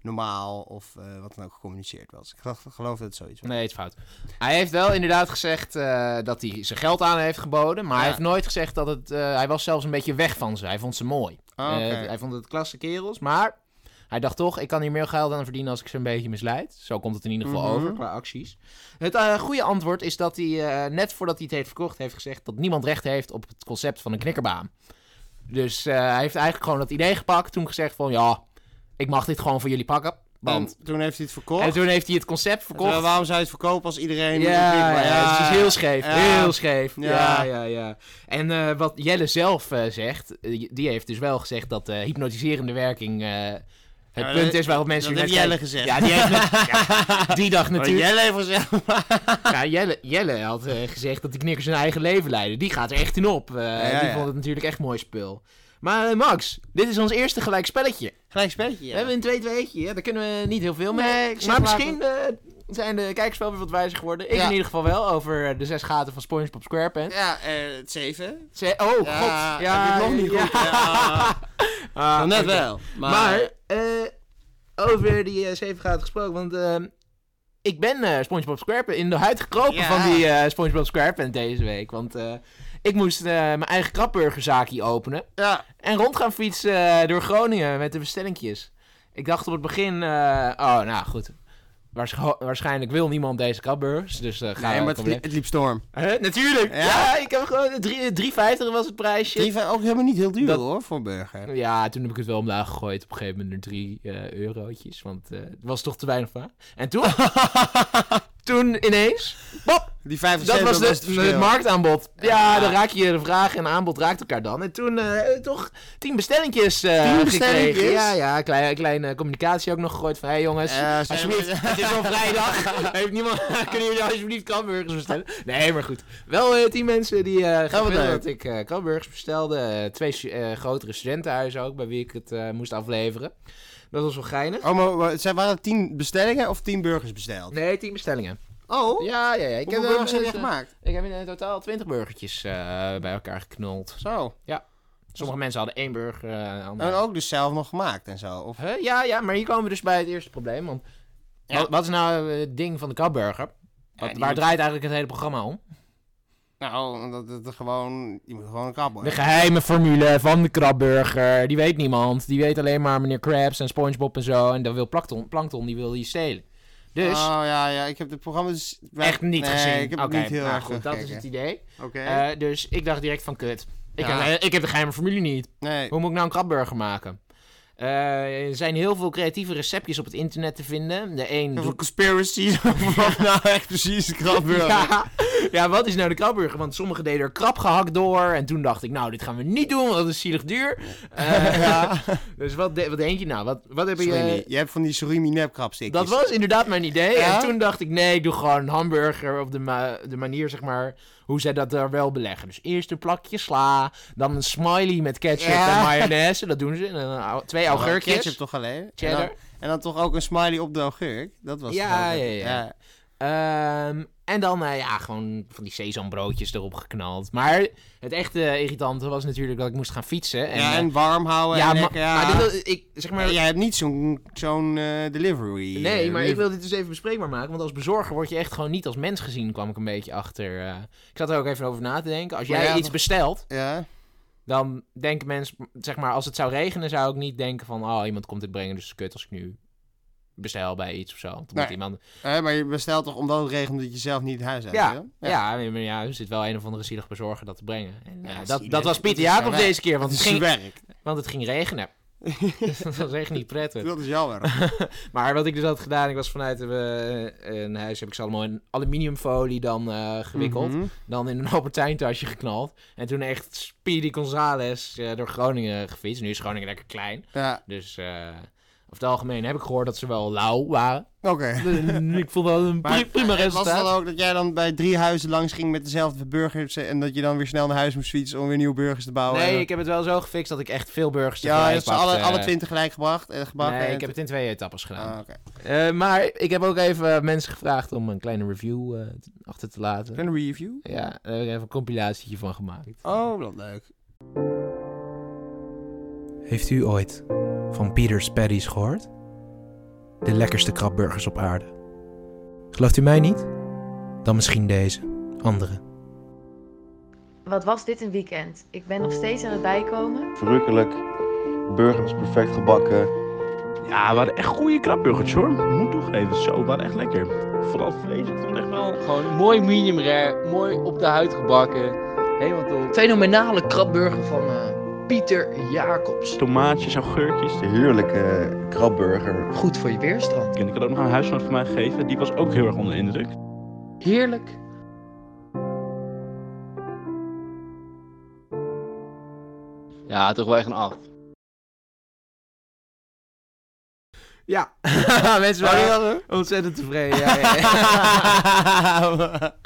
S1: normaal of eh, wat dan ook gecommuniceerd was. Ik geloof, geloof dat het zoiets was.
S2: Nee, het is fout. Hij heeft wel inderdaad gezegd eh, dat hij zijn geld aan heeft geboden. Maar hij
S1: Ja.
S2: heeft nooit gezegd dat het... eh, hij was zelfs een beetje weg van ze. Hij vond ze mooi.
S1: Ah, oké.
S2: Eh, hij vond het klasse kerels. Maar hij dacht toch, ik kan hier meer geld aan verdienen als ik ze een beetje misleid. Zo komt het in ieder geval
S1: Mhm.
S2: over qua acties. Het eh, goede antwoord is dat hij eh, net voordat hij het heeft verkocht... heeft gezegd dat niemand recht heeft op het concept van een knikkerbaan. Dus eh, hij heeft eigenlijk gewoon dat idee gepakt. Toen gezegd van, ja, ik mag dit gewoon voor jullie pakken. Want...
S1: En toen heeft hij het verkocht.
S2: En toen heeft hij het concept verkocht.
S1: Terwijl, waarom zou je het verkopen als iedereen...
S2: Ja, ja, het is dus heel scheef.
S1: Ja.
S2: Heel scheef. Ja,
S1: Ja.
S2: ja, ja. En eh, wat Jelle zelf eh, zegt, eh, die heeft dus wel gezegd dat eh hypnotiserende werking eh, het
S1: maar
S2: punt
S1: dat-
S2: is waarop mensen
S1: Dat
S2: naar
S1: heeft Jelle Oh,
S2: kijken.
S1: gezegd.
S2: Ja, die, heeft net- ja, die dag
S1: Maar
S2: natuurlijk.
S1: Jelle heeft gezegd...
S2: Ja, Jelle, Jelle had eh, gezegd dat die knikkers hun eigen leven leiden. Die gaat er echt in op. Eh,
S1: Ja,
S2: die
S1: ja.
S2: vond het natuurlijk echt mooi spul. Maar eh, Max, dit is ons eerste gelijk spelletje.
S1: Gelijk spelletje,
S2: We hebben een twee tweetje, ja, daar kunnen we niet heel veel mee.
S1: Nee, ik zeg
S2: maar
S1: laten-
S2: misschien eh, zijn de kijkers wel weer wat wijzer geworden. Ik
S1: Ja.
S2: in ieder geval wel, over eh, de zes gaten van SpongeBob SquarePants.
S1: Ja, eh, het zeven.
S2: Ze- oh, god. Ja,
S1: heb ik nog niet
S2: ja.
S1: goed. Ja.
S2: Ah,
S1: net
S2: oké.
S1: wel. Maar,
S2: Maar, eh, over die eh, zeven gaten gesproken, want ehm, ik ben eh, SpongeBob SquarePants in de huid gekropen
S1: Ja.
S2: van die eh, SpongeBob SquarePants deze week. Want eh, ik moest eh, mijn eigen krapburgerzaakje openen.
S1: ja,
S2: En rond gaan fietsen eh, door Groningen met de bestellingjes. Ik dacht op het begin, eh, oh, nou goed. Waarsch- waarschijnlijk wil niemand deze kapburgers, dus eh gaan
S1: nee,
S2: we...
S1: maar het, li- het liep storm.
S2: Huh? Natuurlijk! Ja.
S1: Ja.
S2: ik heb gewoon... eh, drie- 3,50 was het prijsje.
S1: Die zijn ook helemaal niet heel duur
S2: Dat-
S1: hoor, voor een burger.
S2: Ja, toen heb ik het wel omlaag gegooid. Op een gegeven moment naar 3 eh eurotjes. Want eh, het was toch te weinig vraag. En toen... toen ineens... Bop!
S1: Die 75
S2: Dat was
S1: best
S2: het, het
S1: verschil.
S2: marktaanbod. Ja,
S1: Ja.
S2: dan raak je de vraag en aanbod raakt elkaar dan. En toen eh, toch tien bestellingjes eh
S1: Tien bestellingjes?
S2: gekregen. Ja, ja, kleine, kleine communicatie ook nog gegooid van... Hé hey, jongens,
S1: Eh,
S2: alsjeblieft,
S1: zijn we-
S2: het is al vrijdag. Heeft niemand, kunnen jullie alsjeblieft kamburgers bestellen? Nee, maar goed. Wel eh, tien mensen die eh
S1: wat
S2: wilden
S1: leuk.
S2: dat ik eh kamburgers bestelde. Eh, twee stu- eh, grotere studentenhuizen ook, bij wie ik het eh, moest afleveren. Dat was wel geinig.
S1: Oh, maar, maar zijn, waren het 10 bestellingen of 10 burgers besteld?
S2: Nee, tien bestellingen.
S1: Oh,
S2: Ja, ja, ja. Ik
S1: hoeveel
S2: eh,
S1: burgers heb je
S2: eh,
S1: gemaakt?
S2: Ik heb in eh, totaal twintig burgertjes eh, bij elkaar geknuld.
S1: Zo.
S2: Sommige mensen hadden één burger, eh andere...
S1: En ook dus zelf nog gemaakt en zo. Of,
S2: Huh? Ja, ja, maar hier komen we dus bij het eerste probleem. Want
S1: Ja.
S2: wat, wat is nou eh, het ding van de kapburger? Wat,
S1: die
S2: waar
S1: moet-
S2: draait eigenlijk het hele programma om?
S1: nou, dat, dat, dat gewoon, je moet gewoon een krab
S2: De geheime formule van de krabburger. Die weet niemand. Die weet alleen maar meneer Krabs en Spongebob en zo. En dan wil Plankton, Plankton die wil die stelen. Dus,
S1: Oh ja, ja, ik heb het programma dus...
S2: echt niet
S1: nee,
S2: gezien.
S1: ik heb
S2: Oké,
S1: het niet heel
S2: nou
S1: erg
S2: goed, dat is
S1: teruggekeken.
S2: het idee.
S1: Oké.
S2: Eh, dus ik dacht direct van kut. Ik,
S1: Ja.
S2: heb, eh, ik heb de geheime formule niet.
S1: nee.
S2: Hoe moet ik nou een krabburger maken? Eh, er zijn heel veel creatieve receptjes op het internet te vinden. De een
S1: Heel
S2: doet
S1: veel conspiracies over wat nou echt precies een krabburger
S2: Ja, Ja, wat is nou de krabburger? Want sommigen deden er krap gehakt door. En toen dacht ik, nou, dit gaan we niet doen, want dat is zielig duur. Eh,
S1: ja.
S2: Dus wat, de- wat denk je nou? Wat, wat heb
S1: Surimi.
S2: je...
S1: Je hebt van die surimi nepkrapstikjes.
S2: Dat was inderdaad mijn idee.
S1: Ja?
S2: En toen dacht ik, nee, ik doe gewoon een hamburger op de, ma- de manier, zeg maar, hoe zij dat daar wel beleggen. Dus eerst een plakje sla, dan een smiley met ketchup
S1: Ja.
S2: en mayonaise. Dat doen ze. En dan au- twee
S1: Ja, maar
S2: augurkjes.
S1: Ketchup toch alleen?
S2: Oh, Cheddar.
S1: En dan, en dan toch ook een smiley op de augurk? Dat was
S2: Ja,
S1: het ook.
S2: ja, ja. Ehm, en dan, eh, ja, gewoon van die sesambroodjes erop geknald. Maar het echte irritante was natuurlijk dat ik moest gaan fietsen. En,
S1: Ja,
S2: eh,
S1: en warm houden
S2: ja,
S1: en
S2: ma-
S1: lekker... Ja.
S2: maar dit wil- ik, zeg maar,
S1: Ja, jij hebt niet zo'n zo'n eh, delivery.
S2: Nee,
S1: eh,
S2: maar ik
S1: delivery-
S2: wil dit dus even bespreekbaar maken. Want als bezorger word je echt gewoon niet als mens gezien, kwam ik een beetje achter. eh. ik zat er ook even over na te denken. Als
S1: Maar
S2: jij
S1: ja,
S2: iets
S1: toch-
S2: bestelt,
S1: Ja,
S2: dan denken mensen, zeg maar, als het zou regenen, zou ik niet denken van, oh, iemand komt dit brengen, dus het is kut als ik nu bestel bij iets of zo. Want Dan
S1: Nee.
S2: moet iemand...
S1: Eh, maar je bestelt toch omdat het regent dat je zelf niet in huis hebt?
S2: Ja,
S1: wil?
S2: ja. nee, maar ja, er zit wel een of andere zielig bezorger dat te brengen. En, eh,
S1: Ja,
S2: dat,
S1: zielig.
S2: dat was Pieter
S1: Dat is
S2: Jacob
S1: werk.
S2: deze keer,
S1: Want
S2: want
S1: het
S2: het,
S1: is
S2: ging,
S1: werk.
S2: want het ging regenen. dat was echt niet prettig.
S1: Dat is jammer.
S2: Maar wat ik dus had gedaan, ik was vanuit eh, een huis, heb ik ze allemaal in aluminiumfolie dan eh, gewikkeld.
S1: Mhm.
S2: Dan in een Albertijn-tasje geknald. En toen echt Speedy Gonzales eh, door Groningen gefietst. Nu is Groningen lekker klein.
S1: Ja,
S2: Dus eh, over het algemeen heb ik gehoord dat ze wel lauw waren.
S1: oké.
S2: Dus ik vond wel een pri-
S1: Maar
S2: prima
S1: Was het
S2: resultaat.
S1: dan ook dat jij dan bij drie huizen langs ging met dezelfde burgers en dat je dan weer snel naar huis moest fietsen om weer nieuwe burgers te bouwen? Oh, En
S2: Nee,
S1: dan-
S2: ik heb het wel zo gefixt dat ik echt veel burgers
S1: Ja, je
S2: tegelijk
S1: hebt ze alle,
S2: pakte.
S1: alle twintig gelijk gebracht. eh, gebakken
S2: Nee,
S1: en
S2: ik heb het in twee etappes gedaan.
S1: Ah, oké.
S2: Eh, maar ik heb ook even mensen gevraagd om een kleine review eh, achter te laten.
S1: Een review?
S2: Ja, daar heb ik even een compilatietje van gemaakt.
S1: Oh, wat leuk.
S3: Heeft u ooit van Peter's Paddy's gehoord? De lekkerste krabburgers op aarde. Gelooft u mij niet? Dan misschien deze, andere.
S4: Wat was dit een weekend? Ik ben nog steeds aan het bijkomen.
S5: verrukkelijk. Burger was perfect gebakken.
S6: Ja, het waren echt goede krabburgers hoor. Moet toegeven, zo, het waren echt lekker. Vooral het vlees, het was echt wel...
S7: Gewoon mooi medium rare, mooi op de huid gebakken. Helemaal top.
S8: fenomenale krabburger van eh, Pieter Jacobs.
S6: Tomaatjes, augurkjes.
S5: De heerlijke krabburger.
S8: Goed voor je weerstand.
S6: En ik had ook nog aan een huisgenoot van mij gegeven, die was ook heel erg onder de indruk.
S8: Heerlijk.
S7: Ja, toch wel echt een acht.
S2: Ja, mensen
S1: Oh,
S2: waren ontzettend tevreden. Ja, ja,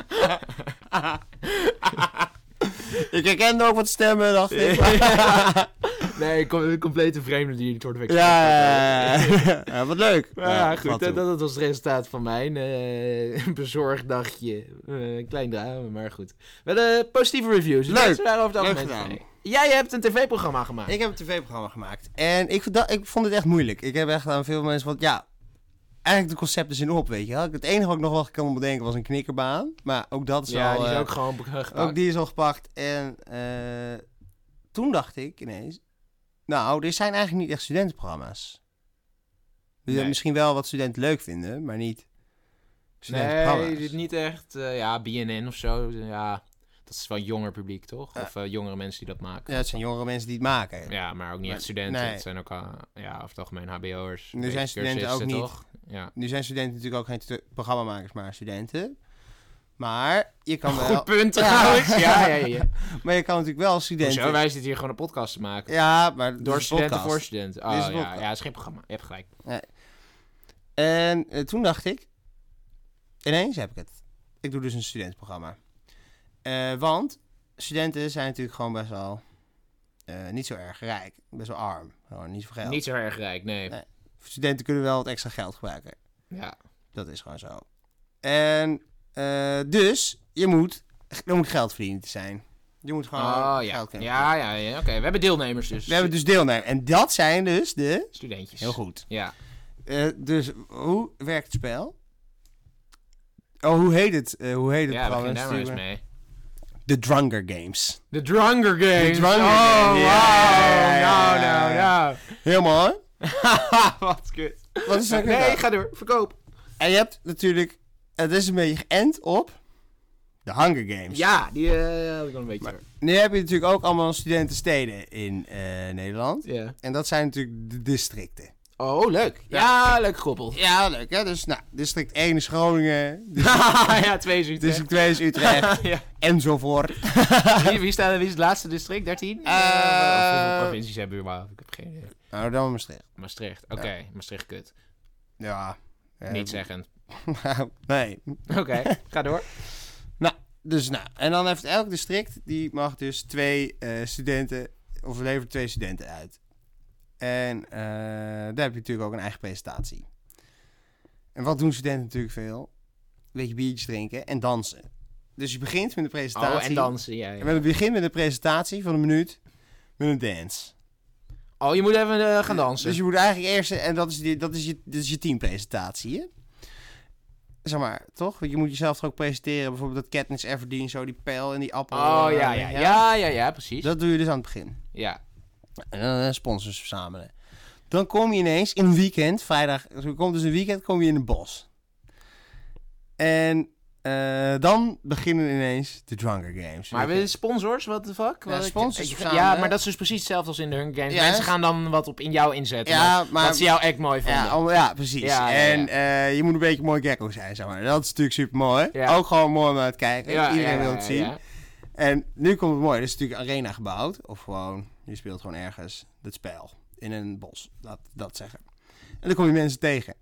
S2: ja.
S1: Ik herkende ook wat stemmen, dacht ik.
S2: nee, com- een complete vreemde die een soort week.
S1: Ja, ja, ja. Ja, wat leuk.
S2: Maar ja, goed,
S1: wat
S2: dat,
S1: doen.
S2: dat was het resultaat van mijn eh bezorgdagje. Eh, klein drama, maar goed. Wel eh, positieve reviews. Dus
S1: Leuk.
S2: mensen waren over het
S1: Leuk
S2: algemeen
S1: gedaan.
S2: tevreden. Jij hebt een tv-programma gemaakt.
S1: Ik heb een tv-programma gemaakt. En ik, vond dat- ik vond het echt moeilijk. Ik heb echt aan veel mensen van, ja, eigenlijk de concepten zijn op, weet je wel. Het enige wat ik nog wel kon bedenken was een knikkerbaan. Maar ook dat is
S2: ja,
S1: al...
S2: die is
S1: eh,
S2: ook gewoon be- gepakt.
S1: Ook die is al gepakt. En eh, toen dacht ik ineens... Nou, er zijn eigenlijk niet echt studentenprogramma's. Die
S2: Nee.
S1: Misschien wel wat studenten leuk vinden, maar niet
S2: Nee, dit
S1: studentenprogramma's.
S2: niet echt. eh, ja, BNN of zo. Ja, dat is wel jonger publiek, toch? Of eh, jongere mensen die dat maken.
S1: Ja, het zijn jongere mensen die het maken.
S2: Ja, maar ook niet
S1: Maar-
S2: echt studenten.
S1: nee.
S2: Het zijn ook al, ja, over het algemeen HBO'ers.
S1: Nu zijn studenten
S2: cursisten,
S1: ook niet.
S2: Toch? Ja.
S1: Nu zijn studenten natuurlijk ook geen tu- programmamakers, maar studenten. Maar je kan wel...
S2: Goed punt
S1: Ja.
S2: trouwens. Ja, ja, ja. ja.
S1: Maar je kan natuurlijk wel
S2: Hoezo,
S1: studenten...
S2: wij zitten hier gewoon een podcast te maken.
S1: Ja, maar dit
S2: Door
S1: is een
S2: studenten
S1: podcast.
S2: voor studenten.
S1: Dit is
S2: Oh
S1: een
S2: ja,
S1: podcast.
S2: ja, is geen programma. Je hebt gelijk.
S1: En eh, toen dacht ik, ineens heb ik het. Ik doe dus een studentenprogramma. Eh, want studenten zijn natuurlijk gewoon best wel eh, niet zo erg rijk. Best wel arm. Gewoon niet zoveel geld.
S2: Niet zo erg rijk, nee.
S1: Nee. Studenten kunnen wel wat extra geld gebruiken.
S2: Ja.
S1: Dat is gewoon zo. En eh, dus, je moet, er moet geld verdienen te zijn. Je moet gewoon
S2: Oh ja.
S1: geld kunnen
S2: Ja, ja, ja. Oké, we hebben deelnemers dus.
S1: We hebben dus deelnemers. En dat zijn dus de...
S2: studentjes.
S1: Heel goed.
S2: Ja.
S1: Eh, dus hoe werkt het spel? Oh, hoe heet het? Eh, hoe heet het
S2: Ja, we
S1: programma?
S2: beginnen daar maar eens
S1: Stuur-
S2: mee.
S1: De Drunger Games.
S2: De Drunger Games.
S1: Drunger
S2: oh,
S1: Games,
S2: wow.
S1: ja, ja,
S2: Nou, nou,
S1: ja.
S2: nou.
S1: Heel mooi.
S2: Wat kut.
S1: Wat is er
S2: Nee,
S1: gedaan?
S2: ga door. Verkoop.
S1: En je hebt natuurlijk... Het is een beetje geënt op... De Hunger Games.
S2: Ja, die eh, had ik wel een beetje. door.
S1: Nu heb je natuurlijk ook allemaal studentensteden in eh, Nederland.
S2: Ja.
S1: En dat zijn natuurlijk de districten.
S2: Oh, leuk. Ja, leuk koppel.
S1: Ja, leuk hè. Dus nou, district 1 is Groningen,
S2: ja, twee zoiets.
S1: district 2 is Utrecht,
S2: ja.
S1: enzovoort.
S2: wie, wie, staat, wie is het laatste district? 13? Eh,
S1: Eh,
S2: hoeveel provincies hebben we überhaupt? Ik heb geen idee.
S1: Nou, dan Maastricht.
S2: Maastricht. Oké, Maastricht kut.
S1: Ja. eh,
S2: Niet zeggend.
S1: nou, nee.
S2: Oké, ga door.
S1: Dus nou, en dan heeft elk district, die mag dus twee eh, studenten, of levert twee studenten uit. En eh, daar heb je natuurlijk ook een eigen presentatie. En wat doen studenten natuurlijk veel? Een beetje biertjes drinken en dansen. Dus je begint met de presentatie.
S2: Oh, en dansen. Ja, ja.
S1: En we beginnen met een presentatie van een minuut met een dance.
S2: Oh, je moet even eh, gaan dansen.
S1: Dus je moet eigenlijk eerst, en dat is, die, dat is, je, dat is je teampresentatie, hè? Zeg maar, toch? Want je moet jezelf toch ook presenteren. Bijvoorbeeld dat Katniss Everdeen, zo die pijl en die appel.
S2: Oh,
S1: eh,
S2: ja, ja, ja, ja, ja, precies.
S1: Dat doe je dus aan het begin.
S2: Ja.
S1: En dan eh, sponsors verzamelen. Dan kom je ineens in een weekend, vrijdag, dus er komt dus een weekend, kom je in het bos. En eh, dan beginnen ineens de Drunker Games.
S2: Maar
S1: Weet
S2: we
S1: je.
S2: sponsors, what the fuck?
S1: Ja,
S2: Wat ik-
S1: sponsors
S2: ik- ja,
S1: verzamelen.
S2: maar dat is dus precies hetzelfde als in de Hunger Games.
S1: Ja,
S2: Mensen
S1: hè?
S2: gaan dan wat op in jou inzetten. Ja,
S1: ja, maar...
S2: dat ze jou echt mooi vonden.
S1: Ja, oh, om- ja, precies.
S2: Ja, ja, ja.
S1: En eh, je moet een beetje mooi gecko zijn, zeg maar. Dat is natuurlijk super mooi.
S2: Ja.
S1: Ook gewoon mooi om aan te kijken.
S2: Ja,
S1: Iedereen
S2: ja,
S1: wil het
S2: ja,
S1: zien.
S2: ja.
S1: En nu komt het mooi. Er is natuurlijk een arena gebouwd. Of gewoon, je speelt gewoon ergens dat spel. In een bos. Dat, dat zeggen. En dan kom je mensen tegen.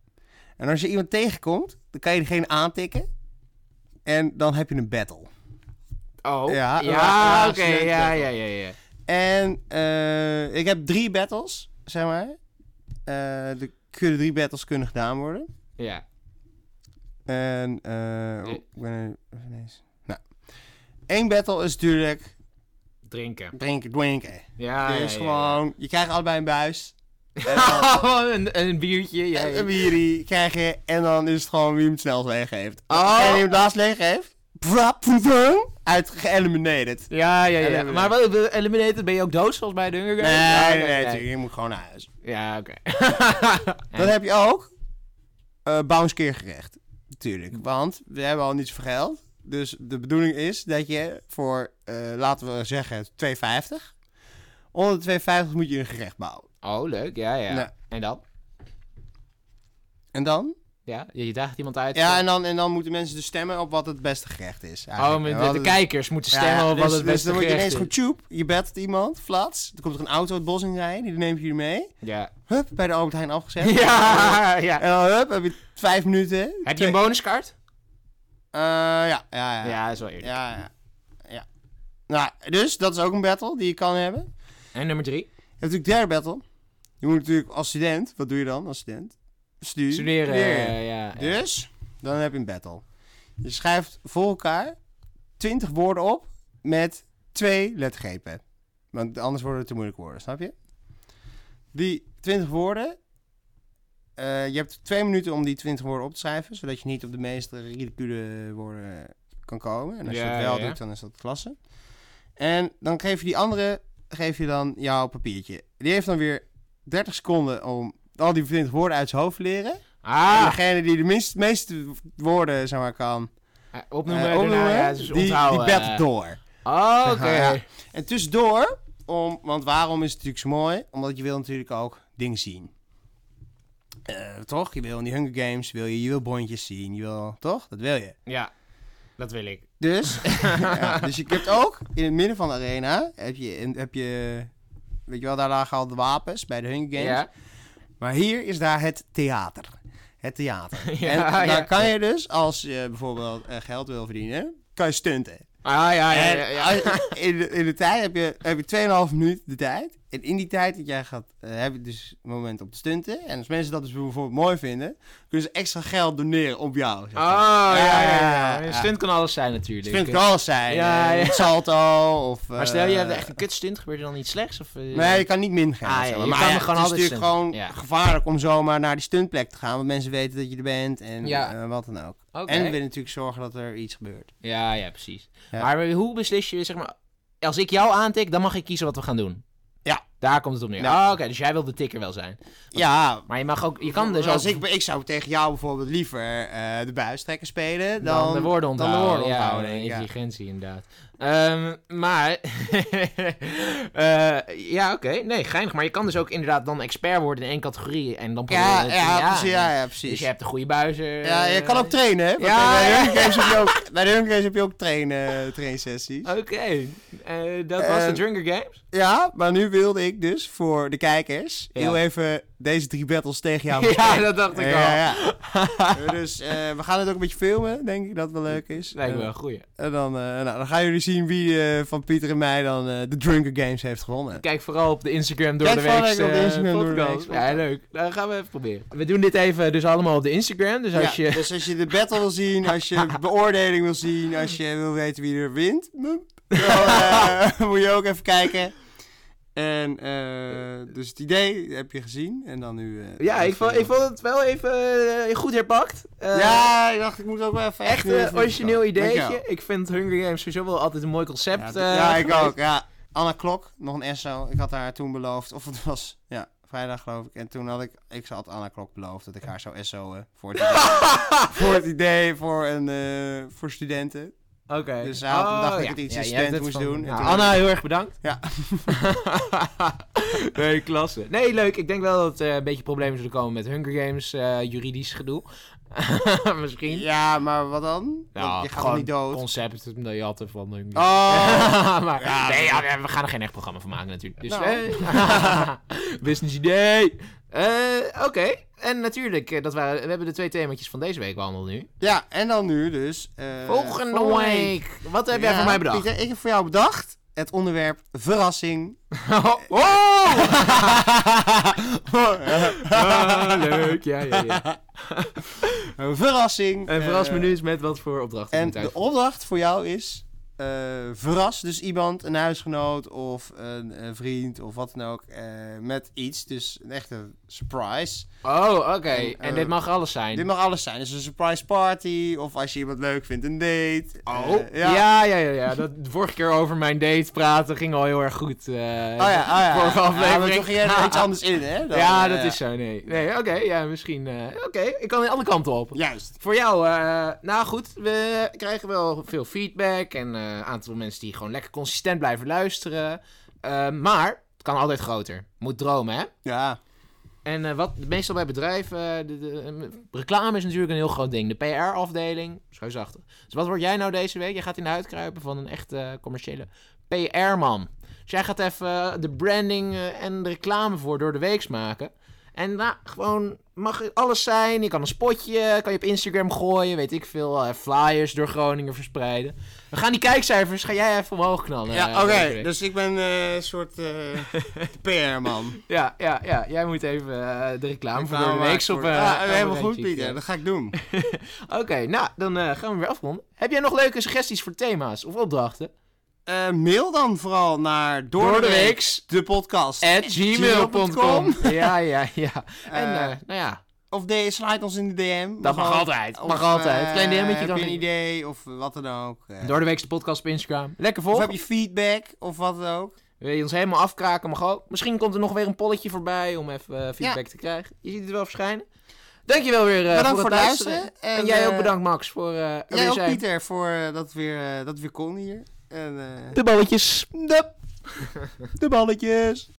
S1: En als je iemand tegenkomt, dan kan je diegene aantikken. En dan heb je een battle.
S2: Oh,
S1: Ja,
S2: ja,
S1: ja,
S2: oké,
S1: student
S2: ja,
S1: level.
S2: ja, ja, ja.
S1: En eh, ik heb drie battles, zeg maar. Eh, er kunnen drie battles kunnen gedaan worden.
S2: Ja,
S1: En eh oh,
S2: Nee.
S1: ik ben er even ineens. Nou. Eén battle is natuurlijk
S2: drinken.
S1: drinken, drinken.
S2: Ja, ja,
S1: dus
S2: Ah, ja, ja.
S1: gewoon, je krijgt allebei een buis. En dan
S2: Oh, een, een biertje, ja. ja.
S1: een bierie krijg je. En dan is het gewoon wie hem het snelst leeg heeft.
S2: Oh.
S1: En wie hem het laatst leeg heeft, vrap, vroom, vroom, uit geëlimineerd.
S2: Ja, ja, ja.
S1: Eliminated.
S2: Maar wat, eh, eliminated, ben je ook dood zoals bij de Hunger
S1: Nee,
S2: Games? Ja,
S1: nee,
S2: oké,
S1: nee,
S2: oké.
S1: natuurlijk, je moet gewoon naar huis.
S2: Ja, oké.
S1: Dan heb je ook eh bounce keergerecht. Natuurlijk. Want we hebben al niets voor geld. Dus de bedoeling is dat je voor, eh, laten we zeggen, 2,50. Onder de 2,50 moet je een gerecht bouwen.
S2: Oh, leuk, ja, ja.
S1: Nee.
S2: En dan?
S1: En dan?
S2: Ja, je je daagt iemand uit.
S1: Ja, en dan, en dan moeten mensen dus stemmen op wat het beste gerecht is.
S2: Oh,
S1: eigenlijk.
S2: maar
S1: En
S2: de,
S1: wat
S2: de
S1: het-
S2: kijkers moeten
S1: Ja,
S2: stemmen op wat
S1: dus-
S2: het beste
S1: Dus dan word je
S2: gerecht
S1: ineens
S2: is.
S1: gewoon tube. Je battelt iemand, flats. Er komt er een auto het bos in rijden. Die neemt jullie mee.
S2: Ja.
S1: Hup, bij de Albert Heijn afgezet.
S2: Ja, ja.
S1: En dan hup, heb je vijf minuten.
S2: Heb je
S1: Twee-
S2: een bonuskaart?
S1: Eh, ja, ja, ja.
S2: Ja, dat is wel eerlijk.
S1: Ja, ja. ja. Nou, dus dat is ook een battle die je kan hebben. Je
S2: En nummer drie?
S1: hebt natuurlijk derde battle. Je moet natuurlijk als student, wat doe je dan als student? Studeren.
S2: Studeren. eh, ja, ja.
S1: Dus, dan heb je een battle. Je schrijft voor elkaar 20 woorden op met twee lettergrepen. Want anders worden het te moeilijke woorden, snap je? Die 20 woorden. eh, je hebt twee minuten om die 20 woorden op te schrijven, zodat je niet op de meest ridicule woorden kan komen. En als je
S2: Ja,
S1: dat wel
S2: ja, ja.
S1: doet, dan is dat klasse. En dan geef je die andere, geef je dan jouw papiertje. Die heeft dan weer 30 seconden om al die 20 woorden uit zijn hoofd te leren. En
S2: Ah,
S1: degene die de minst, meeste woorden zeg maar, kan
S2: eh,
S1: eh,
S2: opnoemen.
S1: opnoemen,
S2: daarna, ja, dus
S1: die,
S2: onthouden.
S1: die bed
S2: eh.
S1: door.
S2: Oh, oké.
S1: Ja, ja. En tussendoor, om, want waarom is het natuurlijk zo mooi? Omdat je wil natuurlijk ook dingen zien. Eh, toch? Je wil in die Hunger Games, wil je, je wil bondjes zien, je wil, toch? Dat wil je.
S2: Ja, dat wil ik.
S1: Dus, ja, dus je hebt ook in het midden van de arena, heb je, en heb je weet je wel, daar lagen al de wapens bij de Hunger Games.
S2: Ja.
S1: Maar hier is daar het theater. Het theater.
S2: Ja,
S1: en daar
S2: ja.
S1: kan je dus, als je bijvoorbeeld eh, geld wil verdienen, kan je stunten.
S2: Ah, ja, ja,
S1: En
S2: ja. ja.
S1: als- in, de, in de tijd heb je, heb je 2,5 minuut de tijd. En in die tijd dat jij gaat, eh, heb je dus een moment om te stunten. En als mensen dat dus bijvoorbeeld mooi vinden, kunnen ze extra geld doneren op jou. zeg maar. Dus
S2: Oh, ja, ja, ja.
S1: Ja, ja.
S2: Een stunt kan alles zijn natuurlijk.
S1: Stunt kan alles zijn.
S2: Ja,
S1: eh,
S2: ja.
S1: een salto of...
S2: Maar stel, je hebt
S1: eh,
S2: echt een kutstunt, gebeurt er dan iets slechts? Of, eh?
S1: Nee, je kan niet min gaan.
S2: Ah,
S1: zeg
S2: ja,
S1: maar
S2: je
S1: maar
S2: kan
S1: ja,
S2: er gewoon
S1: het is
S2: altijd
S1: natuurlijk gewoon
S2: stunten. Ja.
S1: gevaarlijk om zomaar naar die stuntplek te gaan. Want mensen weten dat je er bent en
S2: Ja.
S1: eh, wat dan ook.
S2: Oké.
S1: En we willen natuurlijk zorgen dat er iets gebeurt.
S2: Ja, ja, precies.
S1: Ja.
S2: Maar hoe beslis je, zeg maar, als ik jou aantik, dan mag ik kiezen wat we gaan doen.
S1: Ja.
S2: Daar komt het op neer.
S1: Ja.
S2: Ah, Oké, dus jij wil de tikker wel zijn.
S1: Ja,
S2: Maar je mag ook, je kan dus
S1: als
S2: ook
S1: ik, ik zou tegen jou bijvoorbeeld liever eh, de buistrekker spelen dan,
S2: dan, de woorden
S1: dan de
S2: onthouden.
S1: woorden
S2: ja,
S1: onthouden,
S2: en
S1: ja.
S2: intelligentie inderdaad. Ehm, maar, eh, ja oké, nee, geinig. Maar je kan dus ook inderdaad dan expert worden in één categorie en dan
S1: Ja,
S2: proberen-
S1: ja, precies, ja, ja, precies.
S2: Dus je hebt de goede buizen.
S1: Ja, je kan ook trainen, hè? Want
S2: Ja,
S1: bij, de
S2: ja.
S1: Hunger Games heb je ook, bij de Hunger Games heb je ook trainen, trainsessies.
S2: Oké, eh, dat was
S1: Eh,
S2: de Drinker Games.
S1: Ja, maar nu wilde ik dus voor de kijkers
S2: Ja.
S1: heel even deze drie battles tegen jou
S2: ja, dat dacht ik al.
S1: Ja, ja. Eh, dus eh, we gaan het ook een beetje filmen, denk ik, dat wel leuk is.
S2: Lijkt me wel
S1: En-
S2: een goeie.
S1: En dan, eh, nou, dan gaan jullie zien wie eh, van Pieter en mij dan eh, de Drunker Games heeft gewonnen.
S2: Kijk vooral op de Instagram door
S1: Kijk
S2: de week.
S1: vooral even op de Instagram door de weeks
S2: Ja,
S1: podcast.
S2: leuk. Dan gaan we even proberen. We doen dit even dus allemaal op de Instagram. Dus als
S1: Ja,
S2: je...
S1: Dus als je de battle wil zien, als je beoordeling wil zien, als je wil weten wie er wint, mup, dan eh, moet je ook even kijken. En eh, dus het idee heb je gezien en dan nu... eh,
S2: Ja, ik vond, ik vond het wel even eh, goed herpakt. Eh,
S1: ja, ik dacht ik moet ook wel even...
S2: Echt
S1: nu
S2: een
S1: even-
S2: origineel ideetje.
S1: Dankjewel.
S2: Ik vind Hunger Games sowieso wel altijd een mooi concept.
S1: Ja, d-
S2: eh,
S1: ja, ik
S2: geweest.
S1: ook, ja. Anna Klok, nog een SO. Ik had haar toen beloofd, of het was, ja, vrijdag geloof ik. En toen had ik, ik had Anna Klok beloofd dat ik haar zou SO'en voor het idee, voor, het idee voor, een, eh, voor studenten.
S2: Oké.
S1: Dus hij had
S2: Oh,
S1: bedacht dat ik
S2: ja.
S1: het iets
S2: Ja,
S1: in
S2: jij hebt
S1: studenten
S2: het
S1: moest
S2: van-
S1: doen. En
S2: Ja,
S1: toen-
S2: Anna, heel erg bedankt.
S1: Ja.
S2: nee, klasse. Nee, leuk. Ik denk wel dat er een beetje problemen zullen komen met Hunger Games, eh, juridisch gedoe. Misschien.
S1: Ja, maar wat dan?
S2: Ja,
S1: Want je gaat toch
S2: Nou, gewoon
S1: niet dood?
S2: concept, miljarden van Hunger Games.
S1: Oh!
S2: maar,
S1: Ja,
S2: nee,
S1: dat-
S2: ja, we gaan er geen echt programma van maken natuurlijk. Dus,
S1: Nou.
S2: eh, business idee. Eh, Oké, en natuurlijk, eh, dat waren, we hebben de twee thema's van deze week behandeld nu.
S1: ja, en dan nu dus... eh,
S2: Volgende week. Wat heb jij
S1: Ja,
S2: voor mij bedacht?
S1: Pieter, ik heb voor jou bedacht het onderwerp verrassing.
S2: Oh, Ah, leuk, ja, ja, ja.
S1: Een verrassing.
S2: En verras
S1: Eh,
S2: me nu eens met wat voor opdracht ik
S1: En
S2: moet
S1: de
S2: uitvoeren.
S1: opdracht voor jou is... eh, verras dus iemand, een huisgenoot of een, een vriend of wat dan ook, eh, met iets. Dus een echte surprise.
S2: Oh, oké.
S1: En,
S2: en
S1: eh,
S2: dit mag alles zijn.
S1: Dit mag alles zijn. Dus een surprise party of als je iemand leuk vindt, een date.
S2: Oh,
S1: Eh,
S2: ja. ja, ja, ja, Dat de vorige keer over mijn date praten ging al heel erg goed. eh,
S1: Oh ja, oh ja.
S2: Vorige
S1: Ja, maar
S2: aflevering.
S1: toen ging jij er iets anders in, hè? Dan,
S2: ja,
S1: eh,
S2: dat is zo, nee. Nee, oké, ja, misschien. eh, oké, ik kan de andere kant op.
S1: Juist.
S2: Voor jou, eh, nou goed, we krijgen wel veel feedback en eh, een aantal mensen die gewoon lekker consistent blijven luisteren. Eh, maar het kan altijd groter. Moet dromen, hè?
S1: Ja.
S2: En eh, wat meestal bij bedrijven, eh, de, de, eh, reclame is natuurlijk een heel groot ding. De PR-afdeling, schuizachtig. Dus wat word jij nou deze week? Jij gaat in de huid kruipen van een echte eh, commerciële PR-man. Dus jij gaat even eh, de branding eh, en de reclame voor door de weeks maken. En nou, gewoon mag alles zijn. Je kan een spotje, kan je op Instagram gooien, weet ik veel. eh, flyers door Groningen verspreiden. We gaan die kijkcijfers, ga jij even omhoog knallen.
S1: Ja,
S2: eh,
S1: oké.
S2: deze week.
S1: Dus ik ben eh, een soort eh, PR-man.
S2: Ja, ja, ja, jij moet even eh, de reclame voor door de weeks op...
S1: Ja,
S2: eh,
S1: ah,
S2: op een
S1: helemaal goed,
S2: rijtje
S1: Pieter.
S2: krijgen.
S1: Dat ga ik doen.
S2: Oké, nou, dan eh, gaan we weer afronden. Heb jij nog leuke suggesties voor thema's of opdrachten?
S1: Eh, mail dan vooral naar Door,
S2: Door
S1: de
S2: de
S1: Weeks, de podcast.
S2: At
S1: gmail.com.
S2: ja, ja, ja. En,
S1: Eh,
S2: eh, nou ja.
S1: Of de, slide ons in de DM.
S2: Dat
S1: Of
S2: mag
S1: al-
S2: altijd,
S1: of,
S2: mag altijd.
S1: eh,
S2: Klein DM'tje
S1: heb
S2: kan
S1: je een
S2: niet.
S1: idee of wat dan ook. eh.
S2: Door de week de podcast op Instagram. Lekker
S1: of
S2: volgen.
S1: heb je feedback of wat dan ook.
S2: Wil je ons helemaal afkraken, mag ook. Misschien komt er nog weer een polletje voorbij om even eh, feedback te krijgen. Je ziet het wel verschijnen. Dankjewel weer eh,
S1: Bedankt
S2: voor het luisteren. En, eh, jij ook bedankt, Max, voor eh er
S1: jij
S2: weer
S1: ook,
S2: zijn.
S1: Pieter, voor eh, dat, het weer, eh, dat het weer kon hier. En, eh,
S2: De balletjes.
S1: de balletjes.